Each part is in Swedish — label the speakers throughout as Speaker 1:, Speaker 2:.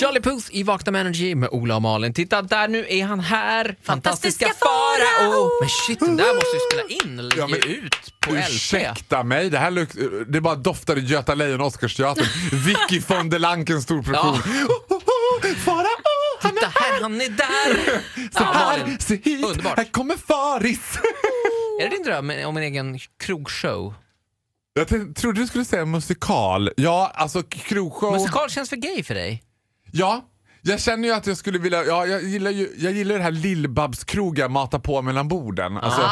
Speaker 1: Charlie Puth i Vakna med Energy med Ola och Malin. Titta, där nu är han här!
Speaker 2: Fantastiska
Speaker 1: Farao!
Speaker 2: Farao!
Speaker 1: Men shit, den där måste vi spela in eller
Speaker 3: Ja, men-
Speaker 1: ge ut på LP.
Speaker 3: Ursäkta mig, det här luk- det bara doftade Göta Lejon och Oscarsteatern. Vicky von der Oh, Lanken stor produktion. Farao, han
Speaker 1: Titta
Speaker 3: är
Speaker 1: här, han är där!
Speaker 3: så
Speaker 1: Ja,
Speaker 3: här,
Speaker 1: Malin.
Speaker 3: se hit,
Speaker 1: Underbart.
Speaker 3: här kommer Faris.
Speaker 1: Är det din dröm om en egen krogshow?
Speaker 3: Jag tänkte, trodde du skulle säga musikal. Ja, alltså krogshow.
Speaker 1: Musikal känns för gay för dig.
Speaker 3: Ja, jag känner ju att jag skulle vilja, ja, jag gillar ju jag gillar det här Lill-Babs-krogar, mata på mellan borden. Alltså,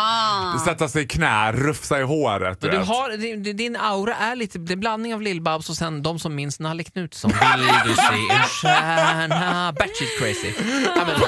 Speaker 3: Sätta sig i knä, rufsa i håret.
Speaker 1: Ah. Men
Speaker 3: du
Speaker 1: du
Speaker 3: vet.
Speaker 1: har, din- din aura är lite det är en blandning av Lill-Babs och sen de som minns Nalle Knutsson. Vill du se en stjärna? Batshit crazy. Ja, men,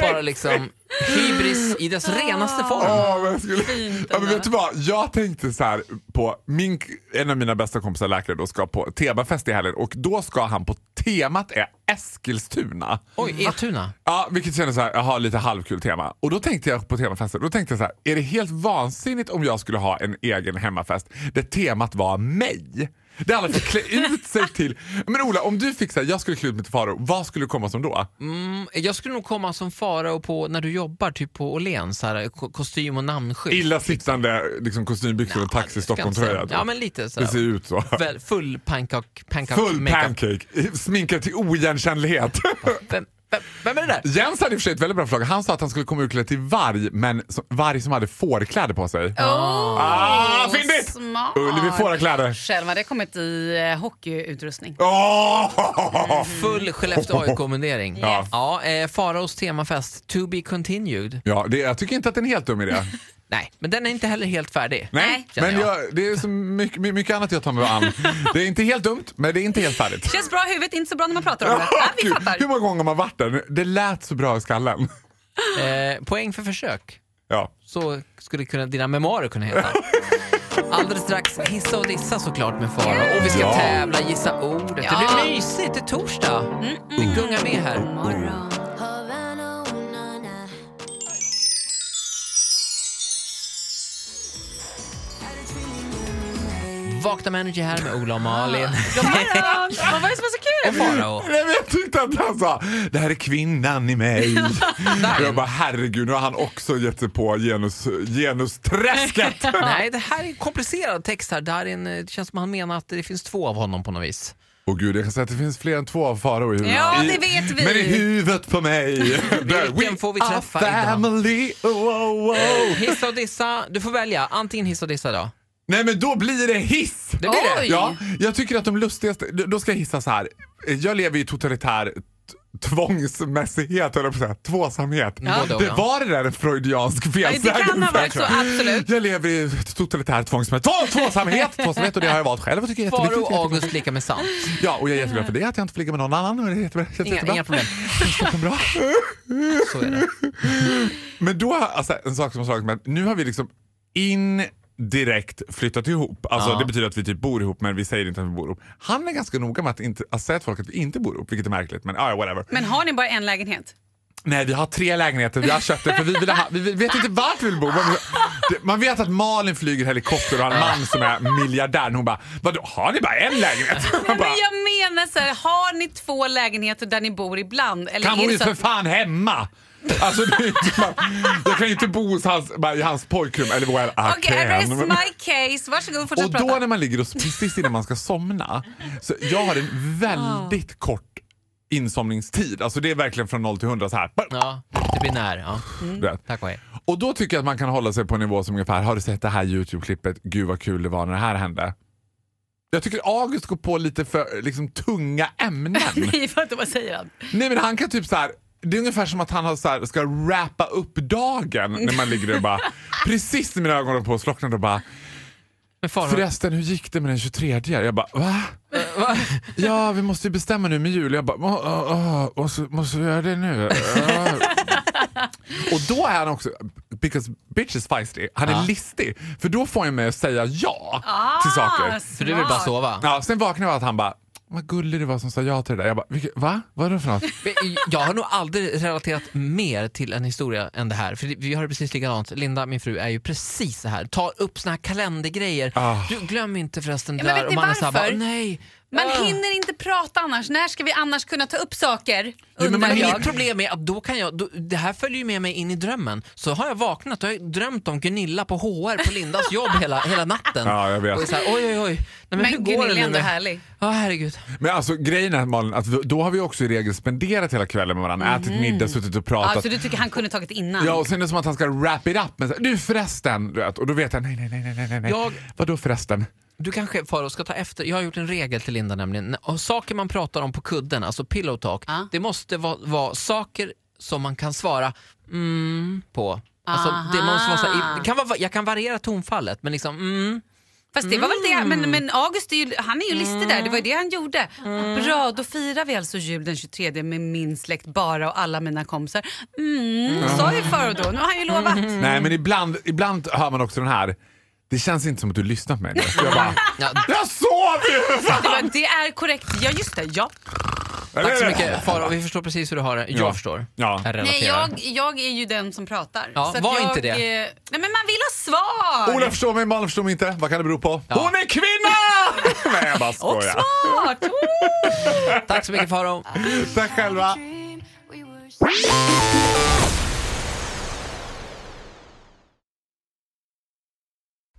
Speaker 1: bara liksom hybris i dess renaste form.
Speaker 3: Ja, men jag skulle,
Speaker 2: Fint
Speaker 3: ja, men vet
Speaker 2: ändå.
Speaker 3: du vad? Jag tänkte så här på min, en av mina bästa kompisar läkare då ska på temafest i helgen och då ska han på temat är Eskilstuna.
Speaker 1: Oj, Etuna.
Speaker 3: Ja, vilket kändes så här, jaha, lite halvkul tema. Och då tänkte jag på temafesten, då tänkte jag så här, är det helt vansinnigt om jag skulle ha en egen hemmafest där temat var mig? Där alla fick klä ut sig till... Men Ola, om du fick så här, jag skulle klä ut mig till Farao, vad skulle du komma som då?
Speaker 1: Mm, Jag skulle nog komma som farao på när du jobbar typ på Åhléns, så här, ko- kostym och namnskydd.
Speaker 3: Illa sittande liksom, kostymbyxor och taxi Stockholm-tröja.
Speaker 1: Ja, men lite så.
Speaker 3: Det ser
Speaker 1: här.
Speaker 3: ut så.
Speaker 1: Väl- Full pancake, pancake
Speaker 3: Full
Speaker 1: makeup.
Speaker 3: pancake, sminkad till oigenkännlighet.
Speaker 1: Vem, vem, vem är det där?
Speaker 3: Jens hade i och för sig ett väldigt bra förslag. Han sa att han skulle komma utklädd till varg, men som, varg som hade fårkläder på sig. Ah, fyndigt!
Speaker 2: Smart. Mm.
Speaker 3: Ullevi fårakläder.
Speaker 2: Själv hade jag kommit i eh, hockeyutrustning.
Speaker 3: Oh!
Speaker 1: Full Skellefteå AIK-kommendering.
Speaker 3: Ja.
Speaker 1: Ja, eh, Faraos temafest, to be continued.
Speaker 3: Ja, det, jag tycker inte att det är en helt dum idé.
Speaker 1: Nej, men den är inte heller helt färdig.
Speaker 3: Nej,
Speaker 1: känner
Speaker 3: men jag, det är så mycket, my- mycket annat jag tar mig an. Det är inte helt dumt, men det är inte helt färdigt.
Speaker 2: Känns bra i huvudet, inte så bra när man pratar om det. Ja, vi
Speaker 3: Gud,
Speaker 2: fattar.
Speaker 3: Hur många gånger har man varit där? Det lät så bra i skallen.
Speaker 1: Eh, poäng för försök.
Speaker 3: Ja.
Speaker 1: Så skulle kunna, dina memoarer kunna heta. Alldeles strax hissa och dissa såklart med Farao. Och vi ska
Speaker 3: Ja.
Speaker 1: tävla, gissa ordet. Det
Speaker 2: Ja.
Speaker 1: blir mysigt, det är torsdag. Vi gungar med här.
Speaker 2: Morgon.
Speaker 1: Vakna med Energy här med Ola och Malin.
Speaker 2: Vad var det som var så kul?
Speaker 1: och Farao.
Speaker 3: Nej, men jag tyckte att han sa det här är kvinnan i mig. Och jag bara herregud, nu har han också gett sig på genus, genusträsket.
Speaker 1: Nej, det här är en komplicerad text här. Det, här är en, eh, det känns som han menar att det finns två av honom på något vis.
Speaker 3: Och gud, jag kan säga att det finns fler än två av Farao i huvudet.
Speaker 2: Ja,
Speaker 3: I-
Speaker 2: det vet vi.
Speaker 3: Men i huvudet på mig. Där,
Speaker 1: Vilken får vi
Speaker 3: are
Speaker 1: träffa idag? Eh.
Speaker 3: family. Oh, oh, oh.
Speaker 1: Hissa och dissa, du får välja. Antingen hissa och dissa då.
Speaker 3: Nej men då blir det hiss!
Speaker 1: Det blir det.
Speaker 2: Oj.
Speaker 3: Ja, jag tycker att de lustigaste, då ska jag hissa så här. Jag lever i totalitär t- tvångsmässighet, eller på att säga, tvåsamhet.
Speaker 1: Både och,
Speaker 3: Det
Speaker 1: ja.
Speaker 3: var det där en freudiansk
Speaker 2: Ja, Det kan
Speaker 3: felsägning.
Speaker 2: ha varit så, absolut.
Speaker 3: Jag lever i totalitär tvångsmässighet. Två, tvåsamhet! tvåsamhet och det har jag valt själv och tycker är jätteviktigt.
Speaker 1: Faro och
Speaker 3: jätteviktigt.
Speaker 1: August lika med sant.
Speaker 3: Ja, och jag är jätteglad för det, att jag inte får ligga med någon annan. och Det är jättebra, jätte-
Speaker 1: Inga,
Speaker 3: jättebra.
Speaker 1: inga problem.
Speaker 3: Jättebra.
Speaker 1: Så är det.
Speaker 3: Men då, alltså, en sak som har slagit mig, nu har vi liksom indirekt flyttat ihop. Alltså,
Speaker 1: Ja.
Speaker 3: Det betyder att vi typ bor ihop men vi säger inte att vi bor ihop. Han är ganska noga med att inte, att säga till folk att vi inte bor ihop, vilket är märkligt. Men ah, ja, whatever.
Speaker 2: Men har ni bara en lägenhet?
Speaker 3: Nej, vi har tre lägenheter, vi har köpt det för vi, vill ha, vi vet inte vart vi vill bo. Men vi- det- Man vet att Malin flyger helikopter och har en man som är miljardär. Hon bara, vadå har ni bara en lägenhet? Man
Speaker 2: Nej,
Speaker 3: bara,
Speaker 2: men jag menar så här, har ni två lägenheter där ni bor ibland? Eller
Speaker 3: kan
Speaker 2: är
Speaker 3: hon
Speaker 2: det
Speaker 3: ju
Speaker 2: så
Speaker 3: för
Speaker 2: att,
Speaker 3: fan hemma! Alltså, det är ju inte, man, jag kan ju inte bo hos hans, bara i hans pojkrum. Eller well, I
Speaker 2: Okej, I
Speaker 3: can.
Speaker 2: rest my case. Varsågod, fortsätt
Speaker 3: Och då
Speaker 2: prata.
Speaker 3: när man ligger och precis innan man ska somna, så jag har en väldigt kort insomningstid. Alltså det är verkligen från 0 till 100 så här.
Speaker 1: Ja, det blir när. Ja.
Speaker 3: Du vet.
Speaker 1: Tack och hej.
Speaker 3: Och då tycker jag att man kan hålla sig på en nivå som ungefär, har du sett det här Youtube-klippet? Gud vad kul det var när det här hände. Jag tycker August går på lite för liksom, tunga ämnen.
Speaker 2: Nej, vänta, vad säger han?
Speaker 3: Nej men han kan typ så här. Det är ungefär som att han har så här, ska rappa upp dagen när man ligger där och bara precis när mina ögon håller på att slockna då bara
Speaker 1: Men Farao,
Speaker 3: förresten hur gick det med den 23 Jag bara va?
Speaker 1: eh, va?
Speaker 3: Ja, vi måste ju bestämma nu med jul. Jag bara, "Åh, åh, åh, måste, måste vi göra det nu? Ja." och då är han också, because bitch is feisty, han är
Speaker 1: Ja.
Speaker 3: listig. För då får han mig att säga ja till saker.
Speaker 1: för du vill bara
Speaker 2: Ah, smart.
Speaker 1: sova.
Speaker 3: Ja, sen vaknar jag av att han bara, vad gullig du var som sa ja till det där. Jag bara, "Vilket- va? Vad är det för något?
Speaker 1: Men Jag har nog aldrig relaterat mer till en historia än det här. För vi har det precis likadant. Linda, min fru, är ju precis så här. Tar upp såna här kalendergrejer.
Speaker 3: Ah.
Speaker 1: Du, glöm inte förresten
Speaker 2: Ja,
Speaker 1: det
Speaker 2: men
Speaker 1: där.
Speaker 2: vet
Speaker 1: Och
Speaker 2: ni
Speaker 1: man är så här, bara,
Speaker 2: varför?
Speaker 1: nej. Ah.
Speaker 2: Man
Speaker 3: Ah.
Speaker 2: hinner inte prata annars. När ska vi annars kunna ta upp saker?
Speaker 3: men
Speaker 2: Undrar
Speaker 3: man-
Speaker 1: Mitt
Speaker 2: jag.
Speaker 1: problem är att då kan jag, då, det här följer ju med mig in i drömmen. Så har jag vaknat och jag har ju drömt om Gunilla på HR på Lindas jobb hela, hela natten.
Speaker 3: Ja, jag vet.
Speaker 1: Och är så här, oj, oj, oj. Nej, men, hur
Speaker 2: Men
Speaker 1: går
Speaker 2: Gunilla
Speaker 1: det
Speaker 2: är
Speaker 1: nu?
Speaker 2: ändå härlig.
Speaker 1: Ja, herregud.
Speaker 3: Men alltså grejen är Malin, att vi- då har vi också i regel spenderat hela kvällen med varandra, ätit middag, suttit och pratat.
Speaker 2: Alltså, du tycker han kunde tagit innan?
Speaker 3: Ja, och sen är det som att han ska wrap it up med så här, du förresten, du vet. Och då vet han nej, nej, nej, nej, nej, nej.
Speaker 1: Jag-
Speaker 3: Vadå förresten?
Speaker 1: Du kanske Faro ska ta efter, jag har gjort en regel till Linda nämligen. N- och Saker man pratar om på kudden, alltså pillow talk,
Speaker 2: Ja.
Speaker 1: det måste va- vara saker som man kan svara mm på. Alltså, det,
Speaker 2: Aha.
Speaker 1: måste vara så här, det kan vara, jag kan variera tonfallet men liksom mm.
Speaker 2: Fast det var väl det, men, men August är ju, han är ju listig där, det var ju det han gjorde.
Speaker 1: Mm.
Speaker 2: Bra, då firar vi alltså jul den 23 med min släkt bara och alla mina kompisar. Mm, sa ju Farao då, nu har han ju lovat.
Speaker 1: Mm.
Speaker 3: Nej, men ibland, ibland hör man också den här, det känns inte som att du lyssnar på mig. nu." Så Jag bara,
Speaker 1: "Mm." Ja,
Speaker 3: jag sov ju! för fan!"
Speaker 2: Det, var, det är korrekt, ja just det, ja.
Speaker 1: Tack så mycket Faro, vi förstår precis hur du har det. Jag
Speaker 3: Ja.
Speaker 1: förstår.
Speaker 3: Ja.
Speaker 1: Jag
Speaker 2: Nej,
Speaker 1: relaterar.
Speaker 2: jag, jag är ju den som pratar.
Speaker 1: Ja,
Speaker 2: Så att
Speaker 1: var
Speaker 2: jag,
Speaker 1: inte det.
Speaker 2: eh, Nej men man vill ha svar!
Speaker 3: Ola förstår mig, Malin förstår mig inte. Vad kan det bero på?
Speaker 1: Ja.
Speaker 3: Hon är kvinna! Nej, jag bara
Speaker 2: Och
Speaker 3: skojar.
Speaker 2: smart! Oh!
Speaker 1: Tack så mycket Faro.
Speaker 3: Tack själva.
Speaker 4: dream we were